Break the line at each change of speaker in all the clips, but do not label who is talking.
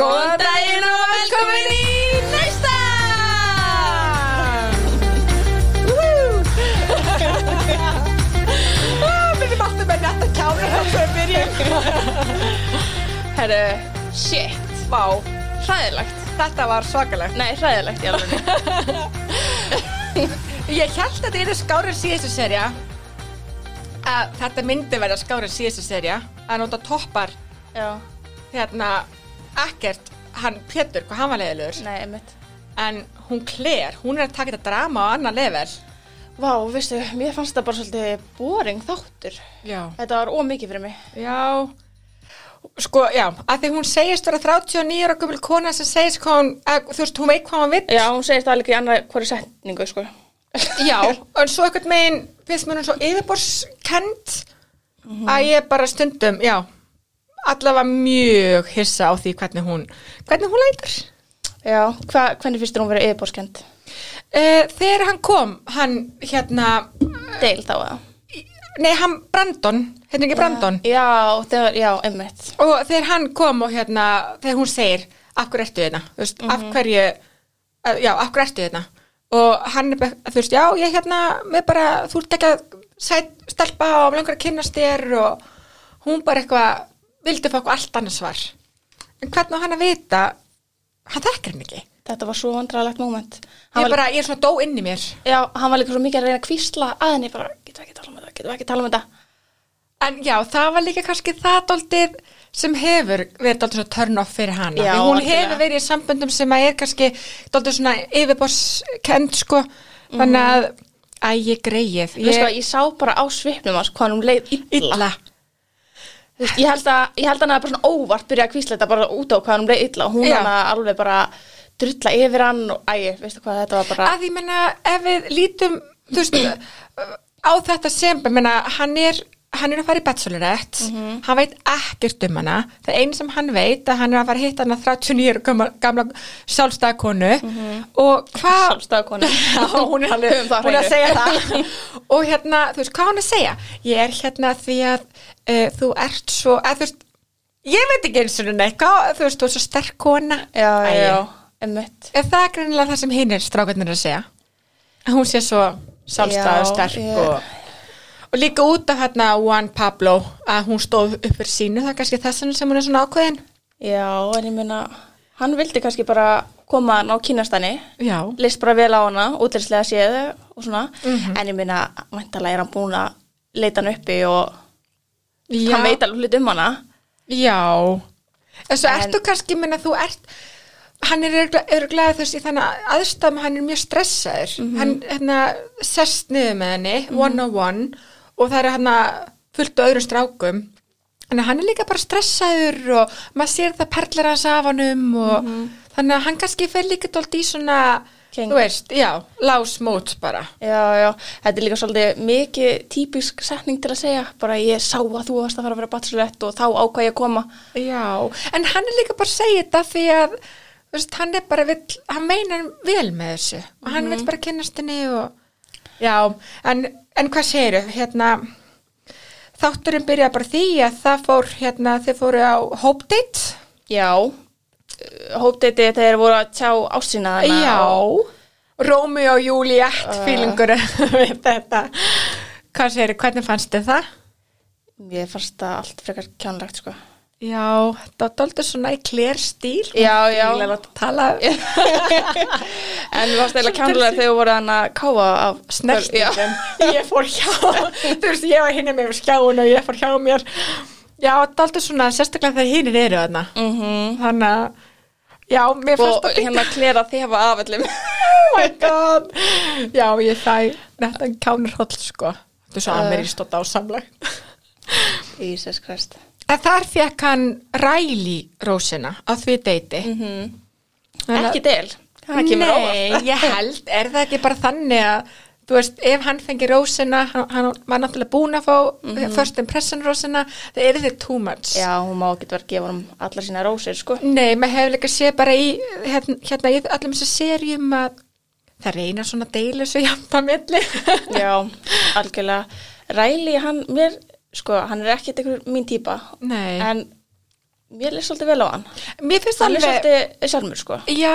Góðan daginn og velkomin í næsta!
Minni matta með netta kjáni Það er byrjun
Herru, shit,
Vá,
hræðilegt.
þetta var svakalegt
Nei, hræðilegt í alveg.
Ég held að þetta eru skárið síðustu serja að þetta myndi verða skárið síðustu serja að nota toppar
Já,
hérna ekkert hann Pétur, hvað hann var leiðilegur
nei, einmitt.
en hún Claire, hún er að taka þetta drama á annan level
Vá, veistu, mér fannst það bara svolítið boring þáttur.
Já
Þetta var ómikið fyrir mig.
Já Sko, já, að því hún segist vera 39 ára gömul kona sem segist hvað hún, að, þú veist, hún veit hvað hún vill
Já, hún segist það líka í annað hverju setningu, sko.
Já, en svo eitthvað megin finnst mér hún svo yfirborskend að ég bara stundum, já allavega mjög hissa á því hvernig hún, hvernig hún lætur
Já, hva, hvernig finnst þér hún verið yfirbórskend?
uh, Þegar hann kom, hann hérna,
Deil þá eða?
nei, hann Brandon hérna ekki Brandon
Já, þegar, já, einmitt.
og þegar hann kom og hérna, þegar hún segir af hverju ertu þetta, þú veist, af
Mhm.
hverju eh, já, af hverju ertu þetta og hann er bara, þú veist, já, ég hérna mér bara, þú ert ekki að sæt, stelpa og mig langar að kynnast þér og hún bara eitthvað vildi fá eitthvað allt annars svar en hvernig á hann að vita hann þekkir hann ekki,
Þetta var svo vandralegt moment. Hann
ég
var,
bara, ég er svona dó inn í mér
já, hann var líka svo mikið að reyna að kvísla að henni, bara, getum við ekki tala um þetta, getum við ekki tala um þetta.
En já, það var líka kannski það doldið sem hefur verið doldið svona turn off fyrir hana.
Já,
Því hún
algjörlega.
hefur verið í samböndum sem að er kannski doldið svona yfirborskend sko, þannig að æ, ég greið,
Ég... Sko,
ég
ég sá bara á svipnum hans hvað hún leið illa.
illa.
Þú veist, ég held að, ég held að hann hafi bara svona óvart byrjað að kvísla þetta bara út á hvað hann bleið illa og hún
Já.
hann alveg bara drulla yfir hann og æg, veistu hvað, þetta var bara
Að ég menna, ef við lítum, þú veist, á þetta sem, ég menna, hann er, hann er að fara í bachelorette,
Mhm.
hann veit ekkert um hana, það einu sem hann veit að hann er að fara að hitta hana 39 ára gamla, gamla sjálfstæðakonu
Mhm.
og hvað
sjálfstæðakonu
Já, hún er alveg, hún er að segja það og hérna, þú veist, hvað á hún að segja ég er hérna því að uh, þú ert svo, að þú veist ég veit ekki eins og neitt, hvað, þú veist, þú er svo sterk kona
já,
Æ,
já, emmitt
er það greinilega það sem hinn er strákarnir að segja að hún sé svo sálstæð og
Já,
sterk
ég-
og, og líka út af hérna Juan Pablo að hún stóð upp fyrir sínu, það er kannski þessan sem hún er svona ákveðin
já, en ég meina hann vildi kannski bara koma hann á kynastanni
já,
leist bara vel á hana, útlýrslega séð og svona,
Mhm.
en ég meina væntalega er hann búin að leita hann uppi og
já.
hann veit alveg hlut um hana
Já, þessu
En-
ertu kannski, menna þú ert, hann er örglega þess í þannig aðstæðum, hann er mjög stressaður, hann hérna, sest niður með henni, one on one og það er hann fullt á öðrum strákum, þannig að hann er líka bara stressaður og maður sér það perlar hans af honum og þannig að hann kannski fer líka dólt í svona,
Keng.
þú veist, já, lásmót bara.
Já, já, þetta er líka svolítið mikið típisk setning til að segja, bara ég sá að þú varst að fara að vera bachelorette og þá ákvað ég að koma.
Já, en hann er líka bara að segja þetta því að þú veist, hann er bara, vill, hann meinar vel með þessu og hann vill bara kynnast henni og já, en, en hvað segirðu, hérna þátturinn byrja bara á því að það fór, hérna, þið fóru á Hope Date
Já, hópteiti þegar Eh, voru að tjá ásina þarna.
Já, Rómi og Júliet uh. fílingur við þetta hvað segirðu, hvernig fannst þið það?
Mér fannst það allt frekar kjánlegt, sko.
Já, það var dálítið svona í klér stíl
Já, já.
Ég læt að tala
En mér fannst það kjánlegt þegar voru hann að káfa af
snertingum
Já.
ég fór hjá þú veist, ég var hinni með skjáun og ég fór hjá mér já, það er alltaf svona sérstaklega þegar hinnir eru þarna
Mhm.
þannig að, já, mér fannst
Og
það
hérna klera þefa af öllum.
oh my god já, ég þæ, þetta kánur hóll sko, þetta er svo
Uh.
ameríst og dásamleg
Jesus Christ.
en þar fekk hann ræli rósina á því deiti
Mhm.
Þannig að-
Ekki del. Það kemur
Nei,
óvart.
ég held, er það ekki bara þannig að þú veist, ef hann fengi rósina hann, hann var náttúrulega búin að fá first impression rósina, það er þið too much
Mhm. Já, hún má ekki vera að gefa hann allar sína rósir, sko.
Nei, maður hefur líka séð bara í hérna, hérna í allum þessu serjum að það reyna svona að deila svo jafnt á milli
Já, algjörlega. Ræli, hann, mér, sko, hann er ekkert einhver mín típa,
Nei,
en mér leist svolítið vel á hann
Mér finnst
hann er
alveg,
svolítið sjálfur sko
já,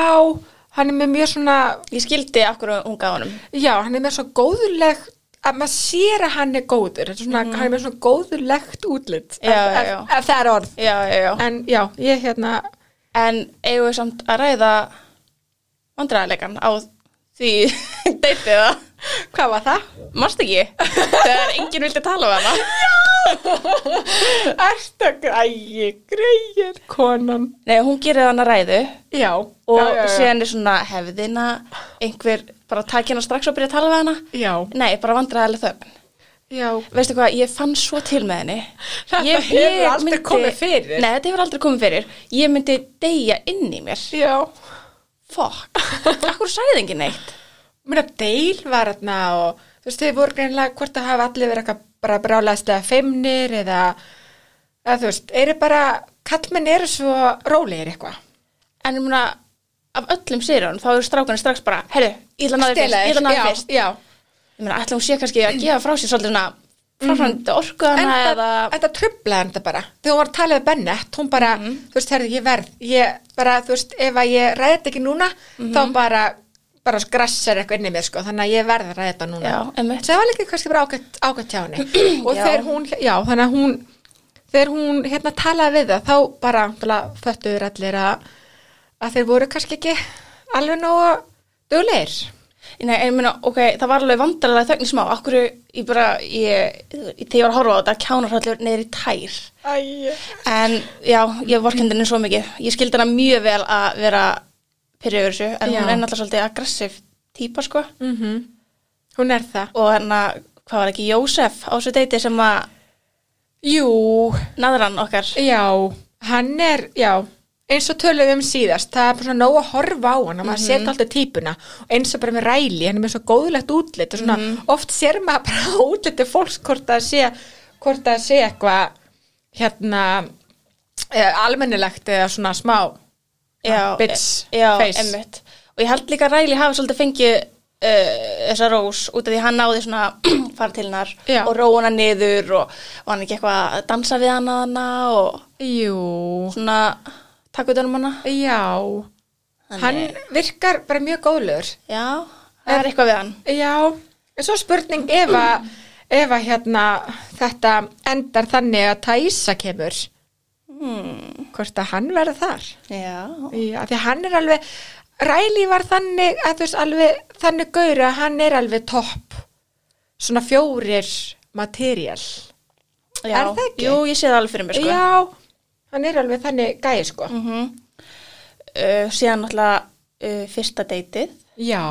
hann er með mjög svona,
ég skildi akkur hún gaf honum
já, hann er með svo góðulegt, að maður sér að hann er góður, þetta er svona, hann er með svona góðulegt útlit,
Mhm. Já,
ef-
já,
ef-
já.
ef það er orð.
já, já, já.
En já, ég hérna,
en eigum við samt að ræða vandræðarleikan á því deytið það
hvað var það?
Mást ekki? Þegar enginn vildi tala við hana
Ertu að grægi, grægir, konan.
Nei, hún gerir hana ræðu
Já,
og
já, já, já.
síðan er svona hefðina einhver bara takk hana strax og byrja að tala við hana
Já,
Nei, bara vandræðarlega þögn
já,
Veistu hvað, ég fann svo til með henni
Þetta
Ég-
hefur
ég
aldrei komið fyrir.
Nei, þetta hefur aldrei komið fyrir Ég myndi deyja inn í mér
já.
Fuck, akkur sagði enginn neitt
Mér að deil var þarna og þú veist, þau voru greinlega hvort að hafa allir verið eitthvað bara brálaðist eða feimnir eða, eða þú veist, eru bara, kallmenn eru svo rólegir eitthvað.
En ég muna, af öllum sérjónum þá eru strákanir strax bara Herru, ég ætla að náði fyrst, ég ætla að náði
já,
fyrst
já.
Ég meina, ætla hún sé kannski að gefa frá sér svolítið svona framfændi orku hana
Mhm. En
eða
þetta trublaði þetta bara. Þegar hún var að tala við Bennett, hún bara,
Mhm.
þú veist, herði, ég verð, ég bara, þú veist, ef að ég ræði þetta ekki núna,
Mhm.
þá bara, bara skrassar eitthvað inn í mér, sko, þannig að ég verð að ræða þetta núna.
Já, einmitt.
Það var líka kannski bara ágætt, ágætt hjá henni. og
Já.
þegar hún, já, þannig að hún, þegar hún hérna talaði við það, þá bara, bara föttuður allir að, að þeir voru kannski ekki alveg nógu dugleir.
Nei, en ég meina, ok, það var alveg vandarlega þögn í smá Akkur ég bara, ég, þegar ég var að horfa á þetta kjánarhallur neyður í tær
Æ,
En já, ég vorkendi henni svo mikið Ég skildi hana mjög vel að vera pyrrið yfir þessu En
Já.
hún er náttúrulega svolítið aggressiv típa, sko
hún er það.
Og hérna, hvað var ekki, Jósef á þessu deiti sem að
Jú,
naðran okkar
Já, hann er, já, eins og tölum við um síðast, það er bara svona nóg að horfa á hann, að maður sér alltaf típuna og eins og bara með ræli, hann er með svo góðlegt útlit og svona oft sér maður bara á útliti fólks hvort að sé, hvort að sé eitthvað, hérna, eh, almennilegt eða svona smá,
já,
Ah, bitch
e- já,
face.
einmitt. og ég held líka að Riley hafi svolítið fengið uh, þessa rós út af því hann náði svona fara til hennar
Já.
og róa hana niður og, og hann ekki eitthvað að dansa við hana hana og
Jú,
svona takk utan um hana
já, hann virkar bara mjög góðlegur.
já, það er eitthvað við hann
Já, en svo spurning ef að, ef að hérna, þetta endar þannig að Tæsa kemur,
Hmm.
hvort að hann verður þar.
já,
Já, af því að hann er alveg, Ræli var þannig, að þú veist, alveg þannig gaur að hann er alveg topp, svona fjórir material.
já.
Er það ekki?
jú, ég sé það alveg fyrir mér sko
Já, hann er alveg þannig gæði, sko.
Mhm. uh, síðan náttúrulega uh, fyrsta deitið
Já,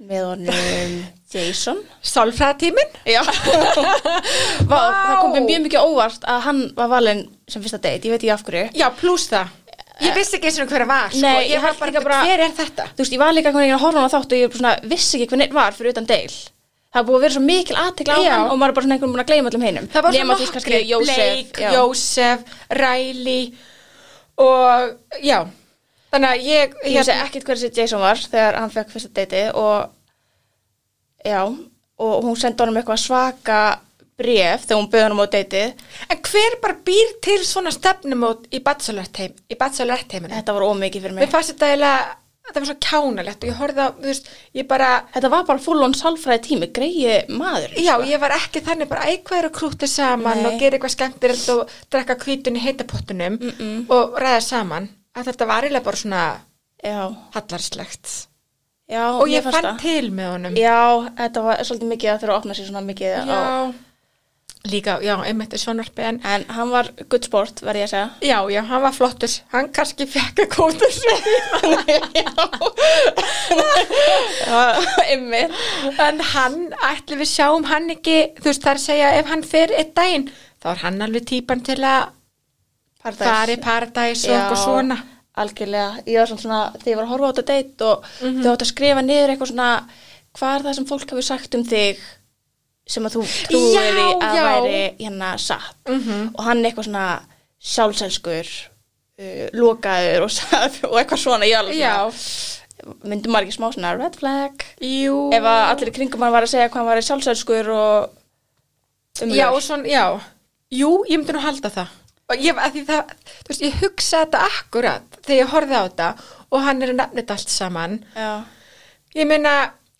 með honum Jason
sálfræðatíminn.
Já Vá, Það kom mér mjög mikið á óvart að hann var valinn sem fyrsta date, ég veit ekki af hverju
Já, pluss það. Ég vissi ekki eins og hver að var, sko.
Eh. Nei, ég
ég var
held
bara,
líka bara-
hver er þetta?
Þú veist, ég var líka einhvern veginn að horfa á hann á þátt og ég svona, vissi ekki hvernig var fyrir utan deil Það er búið að vera svo mikil aðtekla á
Já.
hann og maður er bara svona einhvern veginn að gleyma allum hinum
það var
Nema þú
svo
veist kannski Jósef
Blake, Jósef, Riley og já þannig að ég, hérna,
Ég
ég
vissi ekkert hver þessi Jason var þegar hann fekk fyrsta deiti og já, og hún sendi honum eitthvað svaka bref þegar hún bauð honum á deitið
en hver bara býr til svona stefnumót í bachelorette heim, í bachelorette heiminu
Þetta var ómikið fyrir
mér
mig
fannst þetta eiginlega þetta var svo kjánalegt og ég horfði á, þú veist, ég bara
Þetta var bara full on sálfræði tími, greið maður
Já, ég var ekki þannig bara eitthvað er að krúta saman
Sko. Nei.
og gera eitthvað skemmtilegt og drekka kvítun í heitapottunum og ræða saman að þetta var eiginlega bara svona
Já,
hallarslegt
já
og
mér
ég
fannst
fann
það.
til með honum
Já, þetta var svolítið mikið að þurfa að opna sér svona mikið á,
Já, líka, já, einmitt er sjónvarpi en
En hann var good sport, verð ég að segja
já, já, hann var flottur, hann kannski fekk að kóta
Já, einmitt
en hann, ætli við sjáum hann ekki, þú veist, það er að segja ef hann fer einn daginn, þá er hann alveg típan til að fara í paradæs og
Já,
eitthvað svona
Algjörlega, ég var svona, svona þegar ég var að horfa á þetta deitt og
Mhm.
þau áttu að skrifa niður eitthvað svona Hvað er það sem fólk hafi sagt um þig sem að þú trúir í að
já.
væri hérna satt Og hann eitthvað svona sjálfselskur, uh, lokaður og, og eitthvað svona Ég var alveg
Já,
svona, myndum maður ekki smá svona red flag
jú
ef að allir í kringum hann var að segja hvað hann var sjálfsælskur og
Já, og svona, já, jú, ég myndi nú halda það og ég, að því það, þú veist, ég hugsa þetta akkurat þegar ég horfði á þetta og hann er að nefna þetta allt saman
Já.
ég meina,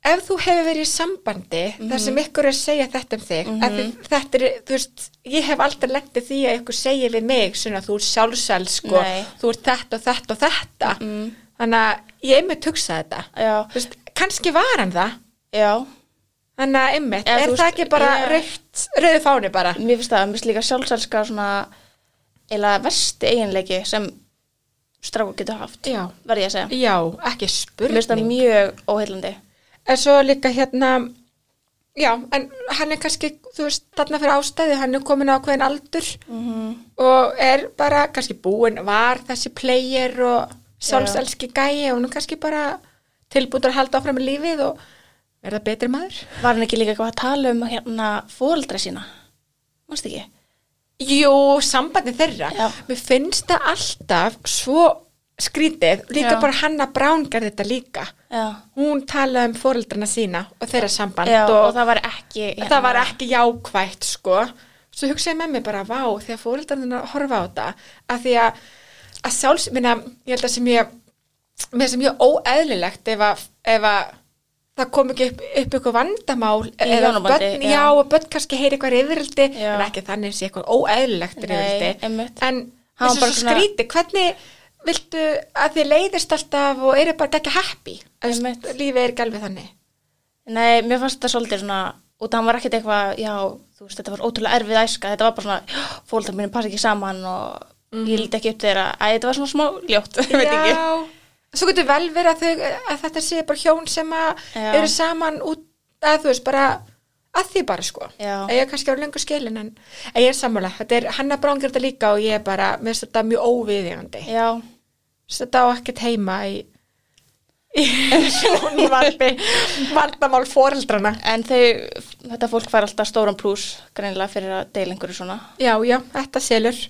ef þú hefur verið í sambandi þar
Mhm.
sem ykkur er að segja þetta um þig mm -hmm. þetta er, þú veist, ég hef aldrei lendið því að ykkur segir við mig svona, þú ert sjálfsælsk og
Nei. Mhm.
þú ert þetta og þetta og þetta þannig að ég einmitt hugsa þetta
Já.
þú veist, kannski var hann það
Já.
þannig að einmitt,
Eða,
er
þú
það
veist,
ekki bara
ég-
rautt, rauðu fáni bara
Mér finnst það, mér finnst líka sjálfsælska svona eila versti eiginleiki sem stráku getur haft.
Já.
Verði ég að segja.
já, ekki
Mér finnst það
spurning
mjög óheillandi.
En svo líka hérna, já, en hann er kannski, þú veist, þarna fyrir ástæði, hann er komin á ákveðin aldur
Mhm.
og er bara kannski búin, var þessi player og sjálfselski gæi og hann er kannski bara tilbúin að halda áfram í lífið og verða betri maður.
Var hann ekki líka eitthvað að tala um hérna fóreldra sína? Mást ekki?
Jú, sambandi þeirra.
Já.
Mér finnst það alltaf svo skrítið, líka
Já.
bara Hanna Brángar þetta líka.
Já.
Hún talaði um foreldrana sína og þeirra samband
Já, og, það var ekki hérna-
það var ekki jákvætt sko svo hugsaði með mér bara vá þegar fóreldarnir horfa á þetta að því að, að sjálfs minna, ég held að sem ég mér sem ég óeðlilegt ef að, ef að það kom ekki upp, upp ykkur vandamál eða
hjónabandi,
börn,
já.
já, og börn kannski heyri eitthvað reyðrildi
Já.
en ekki þannig sé eitthvað óeðlilegt
Nei,
reyðrildi
einmitt.
en þessu
Hann var
svo
bara svona-
skríti hvernig viltu að þið leiðist alltaf og eru bara ekki happy Þú veist,
Einmitt.
lífið er ekki alveg þannig
Nei, mér fannst þetta svolítið svona og það var ekkert eitthvað, já, þú veist, þetta var ótrúlega erfið æska, þetta var bara svona fólkdæm mínum passa ekki saman og ég líti ekki upp þeirra, æ, þetta var svona smá ljótt, ég veit ekki.
Já, svo getur vel verið að, þau, að þetta sé bara hjón sem að
Já.
eru saman út, að þú veist, bara að því bara sko.
Já.
Að ég er kannski á lengur skilin en að ég er sammála. Þetta er, hann er brángjörð þetta líka og ég er bara, mér finnst þetta mjög óviðjandi.
Já,
Þetta á ekkert heima í, í sjónvarpi vandamál foreldrana.
en þau, þetta fólk fær alltaf stóran plús greinilega fyrir að deila einhverju svona,
Já, já, þetta selur.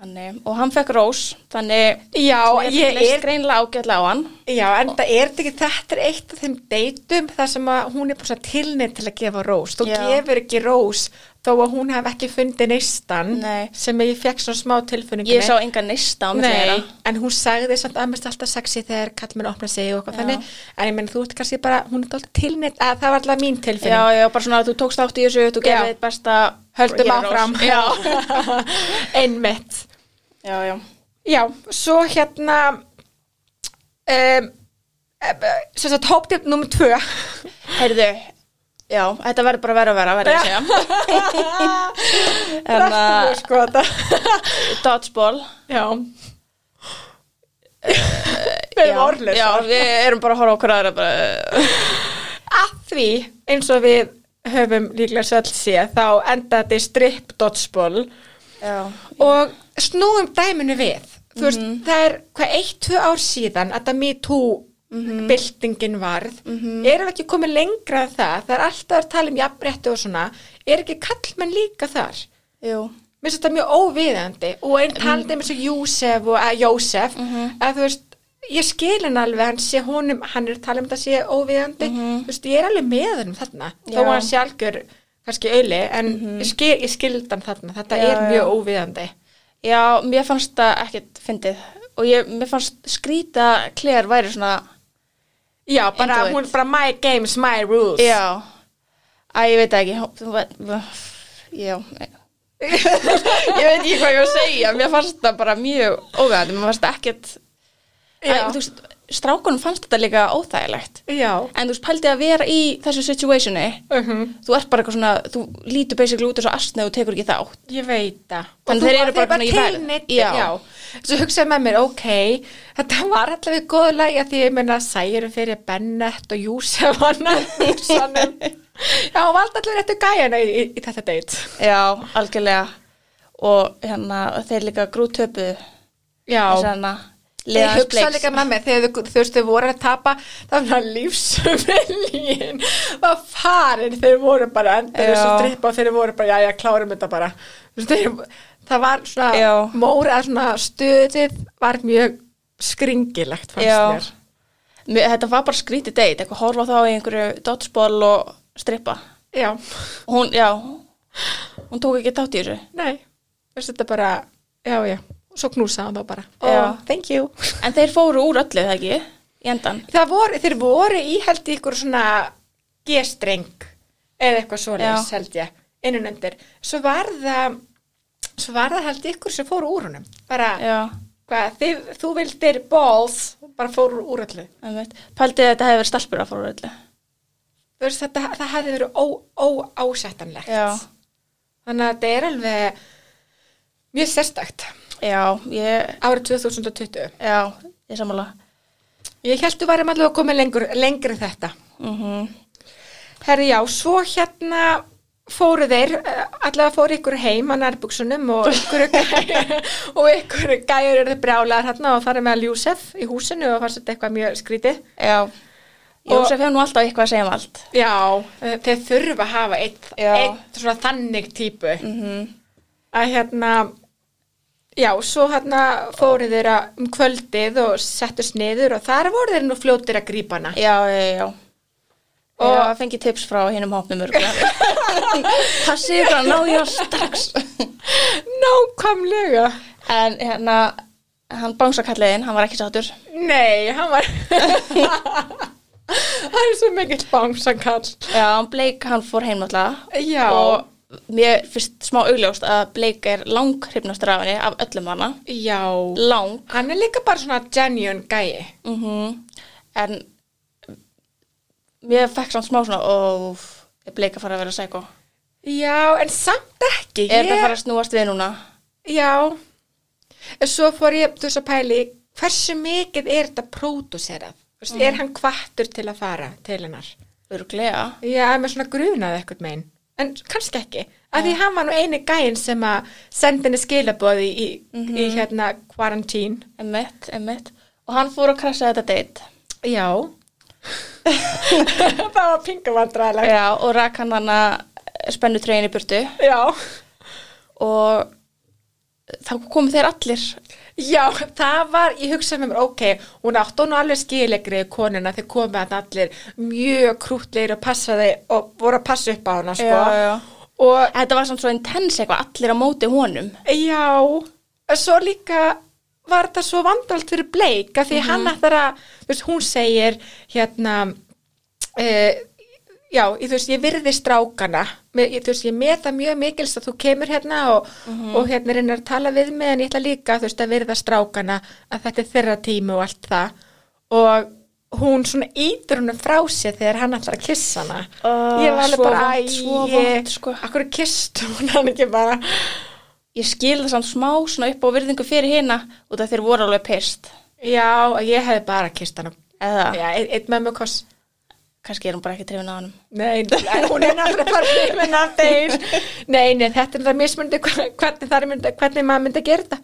þannig, og hann fekk rós, þannig,
Já,
mér
ég
leist
er
greinilega ágætlega á hann.
Já, en það er þetta ekki, þetta er eitt af þeim deytum þar sem að hún er búin tilneitt til að gefa rós. Þú
Já.
gefur ekki rós þó að hún hef ekki fundið neistan
Nei.
sem ég fekk svona smá tilfunningunni.
Ég sá engan nista á mig
Nei,
þeirra.
en hún sagði samt að mest alltaf sexy þegar kallmenn opna sig og eitthvað
Já.
þannig. En ég menn þú ert kannski bara, hún er alltaf tilneitt, að það var alltaf mín
Já,
tilfunning.
já, bara svona að þú tókst átt í þessu, þú
Já.
gefið þitt besta
Höldum
Ég er rós.
áfram.
Já,
Einmitt.
já, já.
Já, svo hérna um, sem sagt hóptipp nummer tvö
Heyrðu, já, þetta verður bara verið að vera, verður ég að segja. En
Rættu
að
nú, sko þetta
dodgeball.
Já Við erum
Já,
orðlausar.
Já, við erum bara að horfa okkur aðra bara. eh,
Að því, eins og við höfum líklega svall séð, þá enda þetta í strip dodgeball
Já.
og snúum dæminu við. Þú veist, það er hvað eitt, tvö ár síðan að það MeToo Mhm. byltingin varð. Erum við ekki komið lengra en það? Það er alltaf að tala um jafnrétti og svona. Er ekki kallmenn líka þar?
Jú.
Mér finnst þetta mjög óviðandi og einn talandi um eins og Jósef og að Jósef að þú veist, ég skilin alveg hann sé honum, hann er að tala um þetta sé óviðandi, þú veist, ég er alveg með hann þarna, þó
Já.
að hann sé algjör kannski auðli, en ég, skil, ég skildi hann þarna, þetta
Já,
er
já.
mjög óviðandi
Já, mér fannst það ekkert fyndið. Og ég, mér fannst skrýta að Claire væri svona,
Já, bara,
Into it.
hún er bara my games, my rules
já, að ég veit það ekki, hó- þú veit, já, ég veit ekki hvað ég var að segja, mér fannst það bara mjög ógæðandi, mér fannst það ekkert,
Já.
Æ, þú veist, strákunum fannst þetta líka óþægilegt.
Já.
En þú veist, pældi að vera í þessu situationi,
Mhm.
þú ert bara eitthvað svona, þú lítur basically út þessu astni og tekur ekki þátt.
Ég veit það.
Þannig
Og
þeir
þú-
eru bara
þeir
svona í verð.
tilneyddir,
Já.
já. Svo hugsaði með mér, ok, þetta var allavega í góðu lagi að því ég meina særum fyrir Bennett og Júsef hann Já, hún valdi allavega réttu gæjana í, í, í þetta deit.
Já, algjörlega. Og hérna, þeir líka grútöpuðu.
Já.
Þessi hérna,
Ég
liðans
hugsaði
bleiks.
líka með mig þegar þau, þú veist þau voru að tapa þá var hann lífsviljin var farin þeir voru bara endur þess
Já.
að strippa og þeir voru bara já já klárum þetta bara Þú veist, þeir, það var svona
Já.
móra svona stöðið var mjög skringilegt fannst
Já.
mér
Mér, þetta var bara skrítið date, eitthvað horfa þá í einhverju dodgeball og strippa.
Já,
Hún, já, hún tók ekki þátt í þessu.
nei, þú veist þetta bara já, já, og svo knúsaði hann þá bara
Já.
oh, thank you
En þeir fóru úr öllu, það ekki? Í endan.
það voru, þeir voru í held í ykkur svona gestreng eða eitthvað svoleiðis held ég innun undir, svo var það svo var það held í ykkur sem fóru úr honum bara,
Já.
hvað, þið, þú vildir balls, bara fóru úr öllu
Einmitt. Paldið að þetta hefði verið stelpur að fóru úr öllu.
Þú veist, þetta, það hefði verið ó- óásættanlegt
Já.
þannig að þetta er alveg mjög sérstakt
Já, ég,
árið 2020
já, ég samanlega.
Ég held þú varum allavega að koma lengur, lengri en þetta.
Mm
Herri, já, svo hérna fóru þeir, eh, allavega fóru ykkur heim að nærbuksunum og ykkur, og ykkur gæjur eru brjálaðar hérna og fara með Ljúsef í húsinu og fannst þetta eitthvað mjög skrítið.
Já. Jósef hefur nú alltaf eitthvað að segja um allt.
Já, eh, þeir þurfa að hafa eitt,
Já.
eitt svona þannig típu Mhm. að hérna, já, svo hérna fóru þeir að- um kvöldið og settust niður og þar voru þeir nú fljótir að grípa hana.
Já, já, já. Og
Og-
já, fengi tips frá hinnum hópnum örgulega. Passið ykkur að ná ég á strax.
Nákvæmlega.
En hérna, hann bánsakallaðinn, hann var ekki sátur.
Nei, hann var hann er svo mikill bámsankall
Já, hann Blake, hann fór heim náttúrulega.
Já.
Og mér finnst smá augljóst að Blake er lang hrifnastur af henni, af öllum hana.
Já
Lang.
Hann er líka bara svona genuine gæi
Mm En mér fekk samt smá svona, ó, er Blake að fara að vera sækó?
Já, en samt ekki
Er þetta
Ég-
að fara að snúast við núna?
Já En Svo fór ég þú veist að pæli hversu mikið er þetta pródúserað mm. Er hann kvattur til að fara til hennar?
Örglega.
Já, með svona grunað eitthvað megin En kannski ekki Af því hann var nú eini gæin sem að sendi henni skilaboði í, í hérna quarantine
Emmett, Emmett. Og hann fór að krasja þetta date.
Já Það var pingavandræðilegt
Já, og rak hann hann að spennu treyjun í burtu.
Já
Og eh, þá komu þeir allir.
Já, það var, ég hugsaði með mér, ok, hún átti hún alveg skilegri konuna þegar komið að allir mjög krútlegir og passaði og voru að passa upp á hana, sko.
Já, já.
Og
Þetta var samt svo intense eitthvað, allir á móti honum.
já, svo líka var þetta svo vandrælt fyrir Blake af því
Mhm.
hann ætlar að, þú veist, hún segir, hérna, uh, já, ég, þú veist, ég virði strákana, Mér- ég, þú veist, ég meta mjög mikils að þú kemur hérna og,
Mhm.
og hérna reynir að tala við mig en ég ætla líka, þú veist, að virða strákana að þetta er þeirra tími og allt það og hún svona ítur húnum frá sér þegar hann ætlar að kissa hana
Ah,
ég var alveg
svo
bara, æ,
vont, svo vont, sko."
akkur kist hún hann ekki bara
Ég skil það samt smá svona upp á virðingu fyrir hina út af þeir voru alveg pyrst.
já, og ég hefði bara kist hana
Eða,
já, eitt, eitt mömmu koss
kannski er hún bara ekki trefin á honum.
Nei, en hún er náttúrulega bara hrifin af þeir. Nei, nei, þetta er það mismundi hvernig, þar myndi, hvernig maður myndi að gera þetta.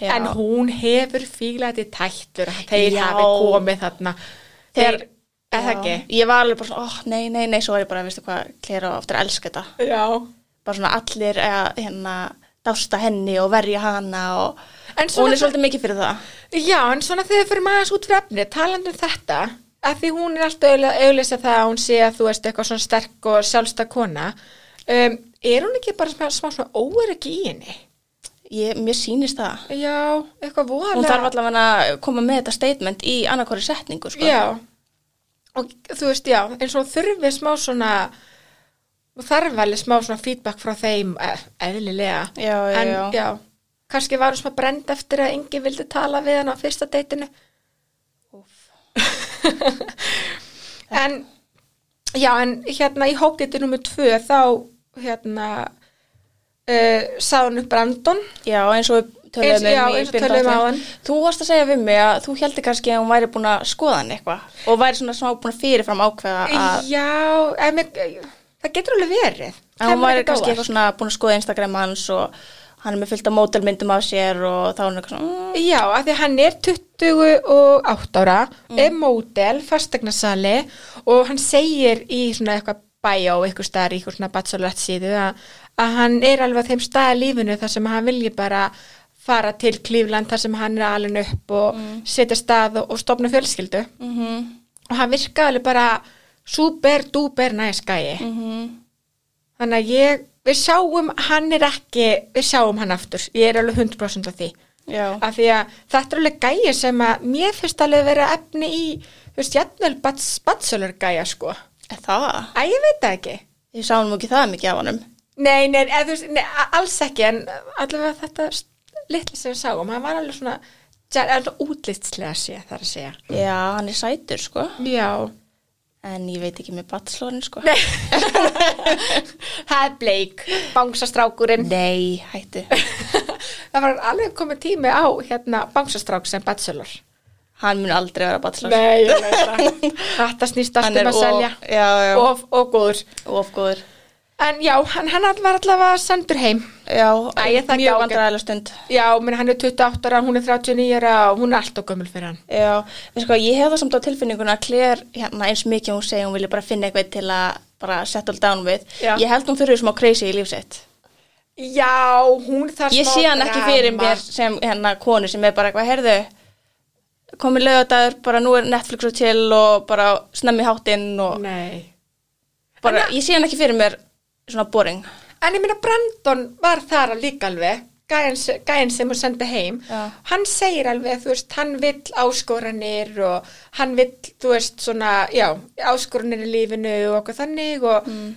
Já.
En hún hefur fílað í tættur að þeir
Já.
hafi komið þarna. Þeir,
Þeir-
er það
Já.
ekki?
Ég var alveg bara svona, óh, nei, nei, nei, svo er ég bara, veistu hvað, klera og aftur að elska þetta.
Já.
bara svona allir að hérna dásta henni og verja hana og,
En
og
svona-
hún er svolítið mikið fyrir það
Já, en svona þegar við fyrir maður út fyrir efni, talandi um þetta, að því hún er alltaf auðlýsa það að hún sé að þú veist eitthvað svona sterk og sjálfstæð kona, um, er hún ekki bara smá, smá svona óeriki í henni?
ég, mér sýnist það
Já, eitthvað voðalega.
hún þarf allavega að koma með þetta statement í annarkori setningu sko.
Já, og þú veist, já, eins og þurfið smá svona, þarf alveg smá svona feedback frá þeim, eh, eðlilega.
Já, já,
en,
já.
kannski var hún smá brend eftir að engi vildi tala við hann á fyrsta deytinu. en, já, en hérna í hópdýttu nummer tvö þá, hérna, uh, sá hann upp Brandon.
já eins og við
Eins-
töluðum
já,
um í
eins og
byrjun
töluðum
þáttarins.
áðan.
þú varst að segja við mig að þú heldur kannski að hún væri búin að skoða hann eitthvað og væri svona smá búin að fyrirfram ákveða að,
Já, en, mér- það getur alveg verið.
að hún
Kæmur
væri
ekkert á
kannski
óvart.
eitthvað svona búin að skoða Instagram hans og hann er með fyllt af mótelmyndum af sér og þá er hann eitthvað svona mm,
Já, af því að hann er 28 ára,
Mm.
er módel, fastegnasali og hann segir í svona eitthvað bæjó, eitthvað staðar, eitthvað svona bachelorette síðu að, að hann er alveg á þeim staða lífinu þar sem hann vilji bara fara til Klífland þar sem hann er alveg upp og
Mm.
setja stað og, og stopna fjölskyldu
mhm,
og hann virka alveg bara super duper næskæi.
mhm
þannig að ég, við sjáum hann er ekki, við sjáum hann aftur ég er alveg 100% af því
Já.
af því að þetta er alveg gæja sem að mér finnst alveg vera efni í þú veist, jætnvel bachelor gæja sko,
Er það?
að ég veit það ekki
Ég sá hann ekki það mikið af honum.
nei, nei, eð, veist, nei, a- alls ekki en allavega þetta litli sem við sáum, hann var alveg svona alveg útlitslega sé, þar að segja
Já, hann er sætur, sko.
já,
En ég veit ekki með batslorin, sko.
það er bleik bangsastrákurinn
Nei, hættu.
það var alveg komið tími á hérna bangsastrák sem bachelor
Hann mun aldrei vera batslor.
Nei, ég veit það. Þetta snýst allt
Hann
um
er
að
of-
selja.
já, já.
Of og góður.
Ofgóður.
En já, hann, hann var allavega sendur heim.
Já,
Æ, ég þekki
mjög
ágætt.
vandræðilega stund.
Já, menn hann er 28 ára, hún er 39 ára og hún er allt og gömul fyrir hann.
Já, við sko, ég hef það samt á tilfinninguna að Claire, hérna, eins mikið og hún segi, hún vilja bara finna eitthvað til að bara settle down with.
Já.
Ég held hún þurfið smá crazy í lífsett.
Já, hún þarf
Ég
smá
sé hann ekki
drama.
fyrir mér sem hérna konu sem er bara eitthvað, heyrðu, komið lögadagur, bara nú er Netflix og til og bara snemmi háttinn og
Nei.
bara, ég sé hann ekki fyrir mér svona boring.
En ég meina Brandon var þar að líka alveg, gæinn se- gæinn sem hún sendi heim,
Já.
hann segir alveg, þú veist, hann vill áskoranir og hann vill, þú veist, svona, já, áskoranir í lífinu og okkur þannig og mm.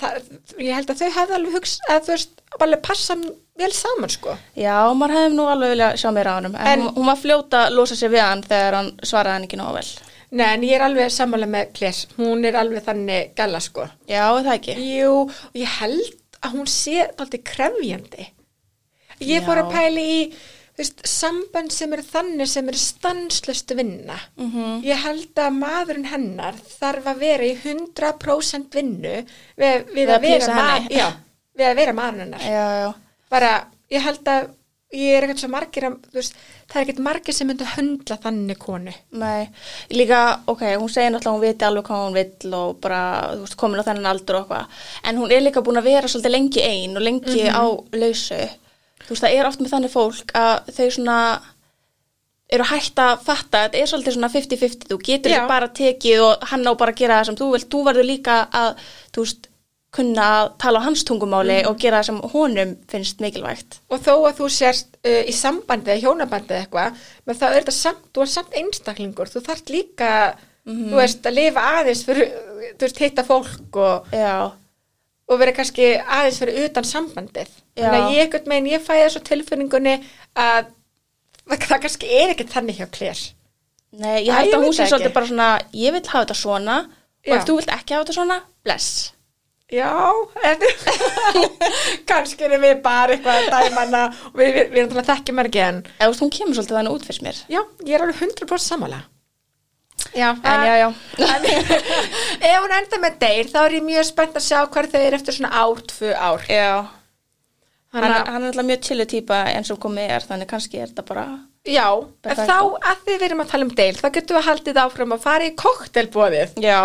það, ég held að þau hefði alveg hugst, að þú veist, alveg passa vel saman, sko.
Já, maður hefði nú alveg viljað sjá mér á hannum, en,
En-
hún, hún var fljóta að losa sér við hann þegar hann svaraði hann ekki nóg vel.
Nei, en ég er alveg sammála með Klér, hún er alveg þannig gæla, sko.
Já, er það ekki.
Jú, og ég held að hún sé alltaf krefjandi. Ég fór
Já.
að pæli í þú veist, sambönd sem eru þannig sem eru stanslust vinna.
Mhm.
-hmm. Ég held að maðurinn hennar þarf að vera í 100% vinnu við, við,
Við að
að vera
pleasa
ma-
henni. Eh.
já, við að vera maðurinn hennar
Já, já.
bara, ég held að ég er ekkert svo margir að, þú veist, það er ekkert margir sem myndu höndla þannig konu
Nei, líka, ok, hún segir náttúrulega að hún viti alveg hvað hún vill og bara, þú veist, komin á þennan aldur og eitthvað, en hún er líka búin að vera svolítið lengi ein og lengi á lausu. Þú veist, það er oft með þannig fólk að þau svona eru hægt að fatta að þetta er svolítið svona 50-50, þú getur
Já.
ekki bara tekið og hann á bara að gera það sem þú vilt, þú verður líka að, þú veist, kunna að tala á hans tungumáli og gera það sem honum finnst mikilvægt.
og þó að þú sért uh, í sambandi eða hjónabandi eða eitthvað, menn það er þetta samt, þú er samt einstaklingur, þú þarft líka þú veist, að lifa aðeins fyrir, þú veist, hitta fólk og,
Já,
og vera kannski aðeins fyrir utan sambandið
Já.
þannig að ég ekkert megin, ég fæði þessu tilfinningunni að það, það kannski er ekkert þannig hjá klér
Nei, ég
Æ,
held
ég
að hún
veit
sé
það
svolítið
ekki.
bara svona, ég vil hafa þetta svona og
Já.
ef þú vilt ekki hafa þetta svona, bless.
Já, en, kannski erum við bara eitthvað að dæma hana og við, við, við erum þannig að þekkjum hana ekki en
Eða þú veist, hún kemur svolítið þannig út fyrir mér.
já, ég er alveg 100% sammála. Já,
En já, já.
En, ef hún enda með deyr, þá er ég mjög spennt að sjá hvar þau eru eftir svona ár, tvö ár.
Já, hann,
Þannig
er-
að,
hann er alltaf mjög chillu típa eins og komið er, þannig kannski er þetta bara,
já,
Bara
en
það
þá
sko.
að þið verðum að tala um deyr, þá getum við haldið áfram að fara í koktelbóðið.
já,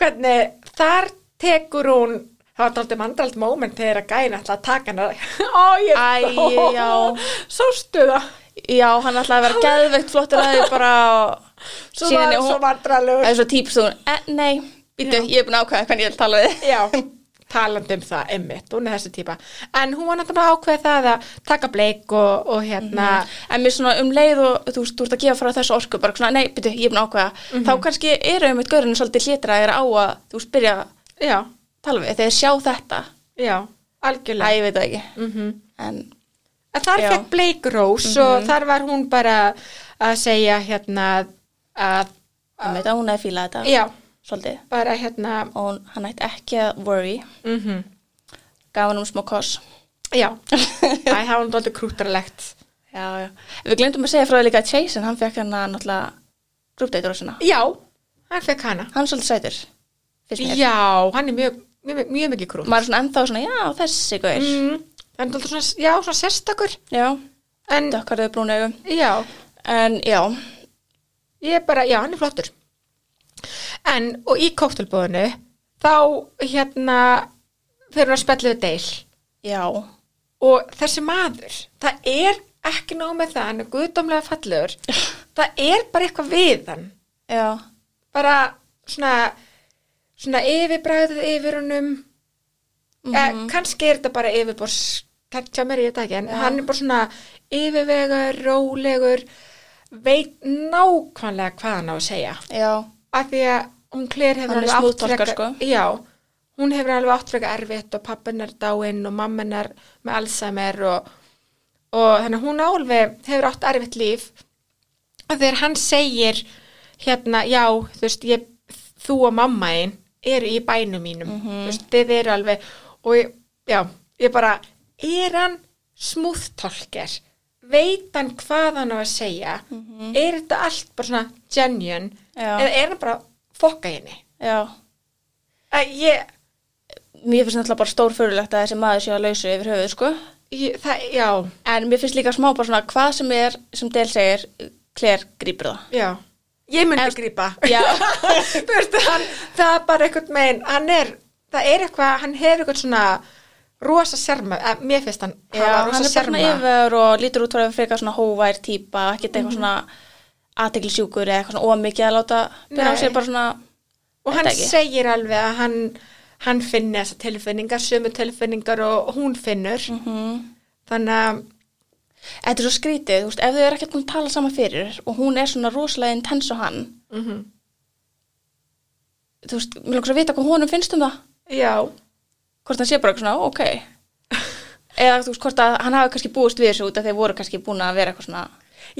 Hvernig, þar tekur hún, það var daldið mandrald moment þegar að gæna alltaf að taka hana. Ó, ég,
Æ, já.
Sástu það?
já, hann ætlaði að vera geðveikt flottur að þau bara,
Svo, var, svo
það
vandralegur.
er svo típist hún, eh, nei, býtu, ég er búin að ákvæða hvernig ég vil tala við.
Já, talandi um það, emmitt, hún er þessi típa. En hún var náttúrulega ákveð það að taka bleik og, og hérna,
En mér svona um leið og þú veist, þú ert að gefa frá þessu orku bara svona, nei, byrju, ég er búin að ákveða
Mhm.
þá kannski eru einmitt gaurinu svolítið hlétraðir á að þú veist, byrja að
já,
tala við þegar sjá þetta
já,
Æ,
algjörlega.
ég veit það ekki
Mhm.
en,
En þar
Já. Mhm.
fekk bleik rós og þar var hún bara að segja hérna að,
ég veit að hún hefði fílað þetta
já,
svolítið,
bara hérna,
og hún, hann ætti ekki að worry
mhm,
gaf hann um smá koss
já, Æ, það var náttúrulega krútarlegt.
já, já. við glemdum að segja frá því líka að Jason hann fekk hann að náttúrulega grúpteitur og svona,
Já, hann fekk hana.
hann er svolítið sætur fyrst mér,
Já, hann er mjög, mjög, mjög mikið krút.
maður er svona ennþá svona, já, þessi gaur
Mm, en þú svona, já, svona sérstakur,
já,
en
dökkarðu brún augum
já,
en já,
Ég er bara, já, hann er flottur. En, og í kóktelbóðinu, þá, hérna, fyrir hún að spjallu við deil.
já
Og þessi maður, það er ekki nóg með það, hann er guðdómlega fallegur. Það er bara eitthvað við hann.
já,
Bara svona, svona yfirbræðið yfir honum mm kannski er þetta bara yfirbors kæmtja mér í þetta ekki en hann er bara svona yfirvegur, rólegur veit nákvæmlega hvað hann á að segja
já,
af því að hún Claire hefur
Hann er
alveg átt
smooth talker,
frekar-
sko.
já, hún hefur alveg átt frekar erfitt og pappin er dáinn og mamman er með Alzheimer og, og þannig að hún á alveg hefur átt erfitt líf og þegar hann segir hérna, já, þú veist ég, þú og mamma einn eru í bænum mínum,
Mhm.
þú veist, þið eru alveg og ég, já, ég bara er hann smúðtolker veit hann hvað hann á að segja er þetta allt bara svona genuine
Mhm. Já.
eða er hann bara að fokka í henni
já
að ég,
mér finnst náttúrulega bara stórfurulegt að þessi maður sé að lausu yfir höfuð sko
ég það, já,
en mér finnst líka smá bara svona hvað sem er sem Del segir, Claire grípur það
já ég myndi en, grípa
já,
Þú veist, hann, það er bara eitthvað megin hann er, það er eitthvað, hann hefur eitthvað svona rosa serma að mér finnst hann hafa
já hann er
rosa
bara svona
serma
yfir og lítur út fyrir frekar svona hóvær típa og
Mhm.
ekkert eitthvað svona aðteglisjúkur eða eitthvað svona ómikið að láta byrja á
Nei.
sér bara svona
og hann
Þetta ekki.
segir alveg að hann hann finni þessa tilfinningar, sömu tilfinningar og hún finnur
Mhm.
þannig að
Þetta er svo skrítið, þú veist, ef þau eru ekkert búin að tala saman fyrir og hún er svona rosalega intens og hann, Mhm. þú veist, mér langar svo að vita hvað honum finnst um það,
já,
hvort hann sé bara eitthvað svona, ok, eða þú veist, hvort að hann hafi kannski búist við þessu út af þeir voru kannski búin að vera eitthvað svona,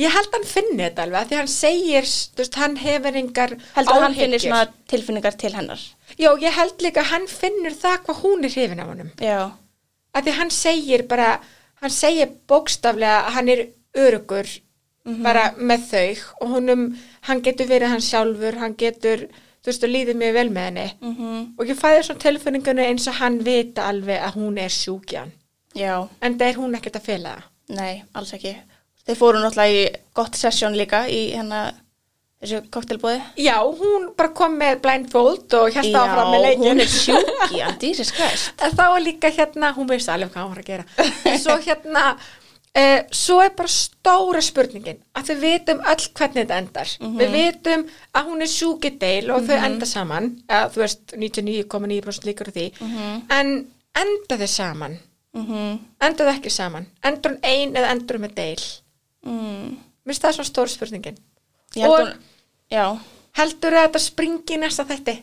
ég held hann finni þetta alveg af því hann segir, þú veist, hann hefur engar
heldur að hann
áhyggjur.
finnir svona tilfinningar til hennar.
Já, ég held líka að hann finnur það hvað hún er hrifin af honum.
Já,
Af því hann segir bara, hann segir bókstaflega að hann er örugur
Mhm.
bara með þau og honum, hann getur verið hann sjálfur, hann getur, þú veist, og líðið mjög vel með henni.
Mm.
Og ég fæði svona tilfinningunni eins og hann vita alveg að hún er sjúkjan.
já,
En það er hún ekkert að fela það.
nei, alls ekki. Þeir fóru náttúrulega í gott sessjón líka í hennar, þessu koktelbóði.
Já, hún bara kom með blindfold og held áfram með leikin.
hún er sjúkja, dýris kvæst.
En þá er líka hérna, hún veist alveg hvað hún var að gera. Svo hérna, uh, svo er bara stóra spurningin að við vitum öll hvernig þetta endar.
Mhm.
Við vitum að hún er sjúkideil og þau enda saman, eða, þú veist 99,9% líkur á því,
Mhm.
en enda þau saman, enda þau ekki saman, endur hún ein eða endur hún með deil.
Mm.
Mér finnst það svona stóra spurningin.
Ég held
Og-
hún, já,
Heldur að þetta springi í næsta þætti?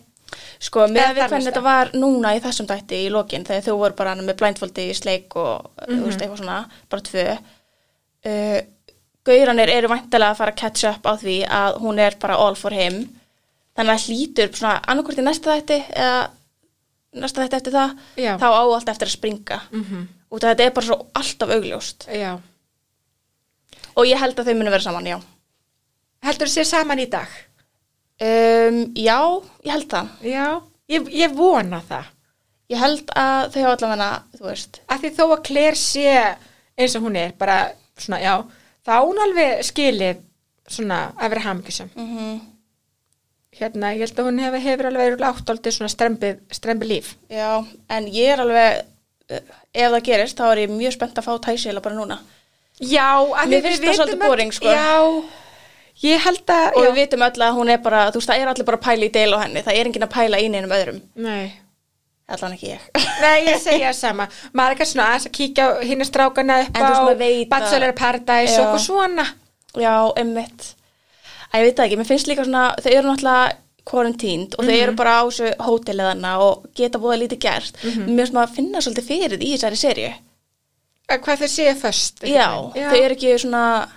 sko, með
Eða
við
þar
hvernig
næsta.
þetta var núna í þessum dætti í lokin þegar þau voru bara með blindfoldi í sleik og,
Mhm.
þú veist, eitthvað svona, bara tvö uh, Gauranir eru væntalega að fara að catch up á því að hún er bara all for him þannig að hlýtur svona annarkvort í næsta þætti eða næsta þætti eftir það
Já.
þá á allt eftir að springa
Mhm.
út af þetta er bara svo alltaf augljóst
Já.
og ég held að þau munu vera saman, já
Heldur þau sér saman í dag?
um, Já, ég held það
Já. Ég, ég vona það.
Ég held að þau hafa allavega, þú veist,
að því þó að Claire sé eins og hún er, bara svona, já þá á hún alveg skilið svona að vera hamingjusum
mm
hérna, ég held að hún hefur, hefur alveg verið áttaldið svona strembið, strembið líf
Já, en ég er alveg, eh, ef það gerist, þá er ég mjög spennt að fá tæsila bara núna.
já, að
Mér finnst það svolítið boring, sko.
já, ég held að
Og
já,
við vitum öll að hún er bara, þú veist, það er allir bara að pæla í deil á henni, það er enginn að pæla í neinum öðrum.
nei
Allan ekki ég.
Nei, ég segja það sama. Maður er ekki svona aðeins að kíkja á hinn strákana upp
En þú veist,
á
maður veit að-
Bachelor Paradise
Já.
og okkur svona.
Já, emmitt. Æ, ég veit það ekki, mér finnst líka svona, þau eru náttúrulega quarantínd og
Mhm.
þau eru bara á þessu hóteliðana og geta búið að lítið gert.
Mhm.
Mér finnst maður að finna svolítið fyrir því í þessari serju.
Að Hvað þau séu föst.
Já, þau eru ekki svona,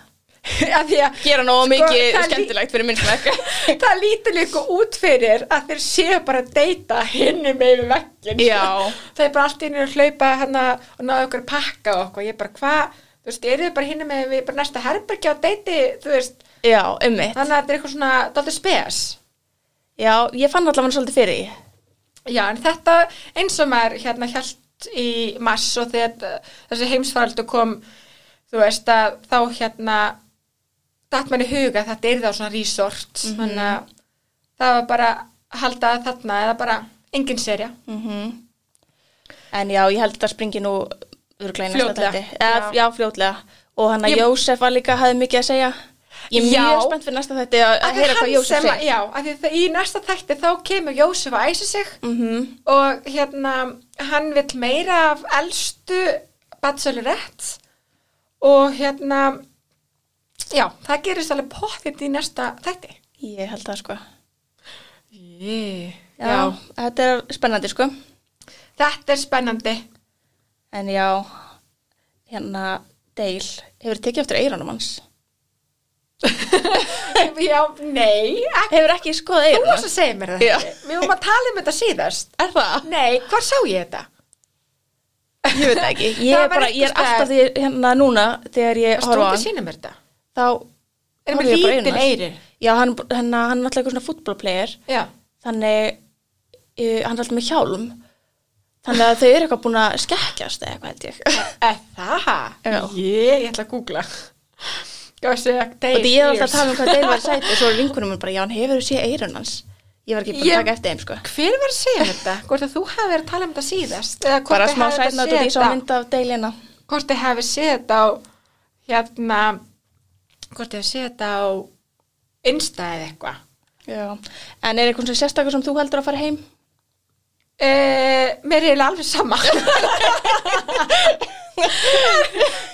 Af því að
gera nógu
Sko,
mikið
það lí-
skemmtilegt fyrir minn smekk.
það lítur líka út fyrir að þeir séu bara að deyta hinni með við vekkinn
Já.
það er bara allt inni að hlaupa hana og náðu okkur að pakka og okkur ég bara hvað, þú veist, eru þau bara hinni með við bara næsta herbergi á deyti, þú veist
Já, emmitt.
þannig að þetta er eitthvað svona dálítið spes
Já, ég fann allavega svolítið fyrir því.
já, en þetta eins og maður hérna hjælt í mass og þegar þessi heimsfaraldu kom þú veist að þá hérna datt manni í huga að þetta er þá svona resort þannig að það var bara að halda að þarna eða bara engin serja
En já, ég held að það springi nú örglega í næsta
Fljótlega.
þætti. Eða,
Já.
Já, fljótlega. Og hann að
Ég-
Jósef var líka, hafði mikið að segja. Ég er
Já.
mjög spennt fyrir næsta þætti að,
Af
að
því
heyra hvað
hann
Jósef
sem að-
segir.
Já, af því það- í næsta þætti þá kemur Jósef að æsa sig
Mhm.
og hérna hann vill meira af elstu bachelorette og hérna já, það gerist alveg pottitt í næsta þætti
Ég held það sko.
yeah.
Já. Þetta er spennandi sko.
Þetta er spennandi
En já, hérna, Deil hefur tekið eftir eiranum hans.
Já, nei, ekki
Hefur ekki skoðað
Þú
eirana.
varst að segja mér það
Já.
ekki. Við vorum að tala um þetta síðast
Er það?
Nei, hvar sá ég þetta?
Ég veit það ekki. Ég
Það
er,
var
bara, ég er
einhvers staðar.
alltaf því, hérna núna, þegar ég
Varst þú
horfa á
ekki að
hann,
sína mér þetta?
þá
Er
horfi
með
ég bara í
lítil
augun á hans.
eyru?
Já, hann, hann, hann er alltaf eitthvað svona fútbolplayer,
Já,
þannig uh, hann er alltaf með hjálm. Þannig að þau eru eitthvað búin að skekkjast eða eitthvað held ég.
eða það?
Já.
Ég, ég ætla að googla Gjósi að
Og því ég er alltaf að tala um hvað Dale var sæti og svo er vinkunum minn bara, já, hann hefur séð eirun hans. Ég var ekki bara
Ég-
að taka eftir þeim, sko.
Hver var að segja mér þetta? Hvort að þú hafi verið að tala um þetta síðast? Eða hvort
Bara
þið
smá
hafið
sætna út
séð
og því svo
þetta-
mynd af Dale hérna.
Hvort þið hafi séð þetta á hérna hvort þið hafi séð þetta á Insta eða eitthvað
Já. En er eitthvað svona sérstakur sem þú heldur að fara heim?
Uh, mér er eiginlega alveg sama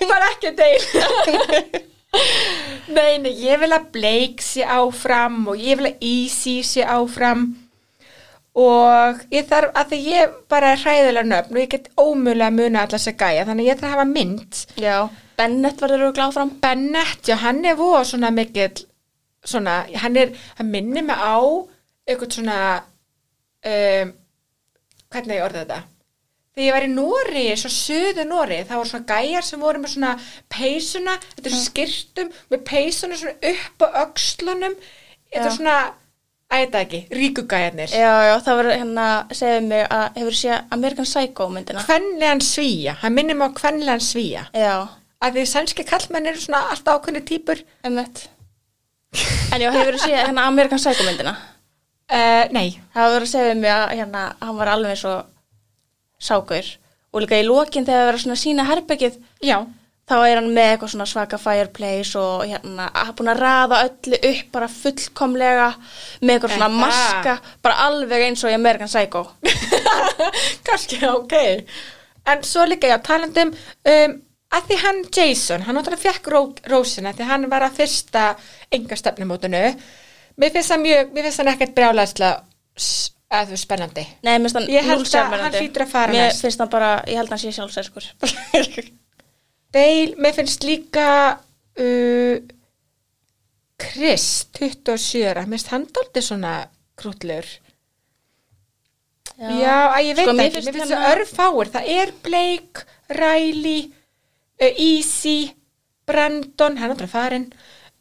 bara ekki deil nei, nei, ég vil að Blake sé áfram og ég vil að Easy sé áfram og ég þarf að því ég bara er hræðilega nöfn og ég get ómögulega að muna alltaf að gæja þannig að ég þarf að hafa mynd
Já. Bennett verður auðvitað áfram.
Bennett, já, hann er voða svona mikill svona, hann er, hann minnir mig á eitthvað svona um, hvernig ég orða þetta þegar ég var í Nóri, svo söðu Nóri þá voru svona gæjar sem voru með svona peysuna, þetta er skirtum með peysuna svona upp á öxlunum þetta
Já.
er svona að þetta ekki, ríkugæjarnir
Já, já, það verður hérna, segðu mig að hefur séð American Psycho myndina.
kvenlegan svíja, hann minnir mig á kvenlegan svíja
Já,
að því sænski kallmenn eru svona alltaf ákveðni típur
emmett. En já, hefur séð hérna American Psycho myndina.
uh, nei,
Það verður að segja mig að hérna, hann var alveg svo sákur. Og líka í lokin þegar það verður svona sína herbergið,
já
þá er hann með eitthvað svona svaka fireplace og hérna, hann er búin að raða öllu upp bara fullkomlega með eitthvað svona
Þetta.
maska, bara alveg eins og í American Psycho.
Kanski, ok. En svo líka, já, talandum, um, að því hann Jason, hann náttúrulega fekk ró, rósina, því hann var að fyrsta engastefnumótinu. Mér finnst það mjög, mér finnst hann ekkert brjálæðsla að þú spennandi.
Nei, mér finnst hann
Ég held að
núlsjálfmennandi.
hann hlýtur að fara
mér
næst.
finnst hann bara, ég held að hann sé sjálfsæskur.
Deil, mér finnst líka uh, Chris, 27 ára, mér finnst hann daldið svona krútlegur. Já, að ég veit
Sko, mér
ekki,
finnst
mér finnst
hérna-
það örfáir, það er Blake, Riley, uh, Easy, Brandon, hann er náttúrulega farinn,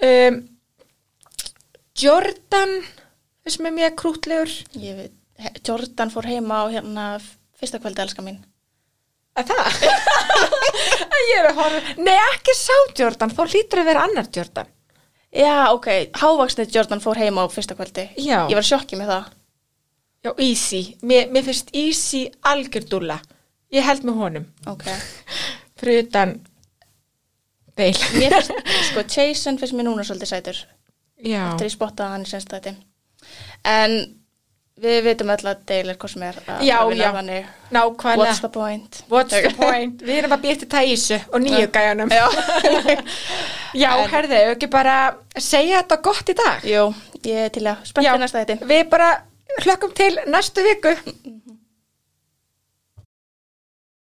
um, Jordan, finnst mér mjög krútlegur,
Ég veit, he- Jordan fór heima á hérna f- fyrsta kvöldi elska mín.
að það, að ég er að horfa, nei ekki sá Jordan, þá hlýtur að vera annar Jordan,
Já, ok, hávaksnið Jordan fór heima á fyrsta kvöldi.
Já.
Ég var sjokkið með það.
já Easy, mér, mér finnst Easy algjördulla, ég held með honum,
Ok.
fyrir utan Deil,
Mér finnst, sko, Jason finnst mér núna svolítið sætur.
já,
Þegar ég spottaði hann í senst þetta. En við vitum öll að Dale er hvað sem er að
Já,
vinna
já.
þannig.
nákvæmlega.
What's the point?
What's the point? Eh, Við erum að býja til Taisu og nýju gæjanum. Já, Já
En-
herðu, ef ekki bara segja þetta gott í dag.
Jú, ég er til að spennt
Já,
fyrir næsta þetta.
Við bara hlökkum til næstu viku.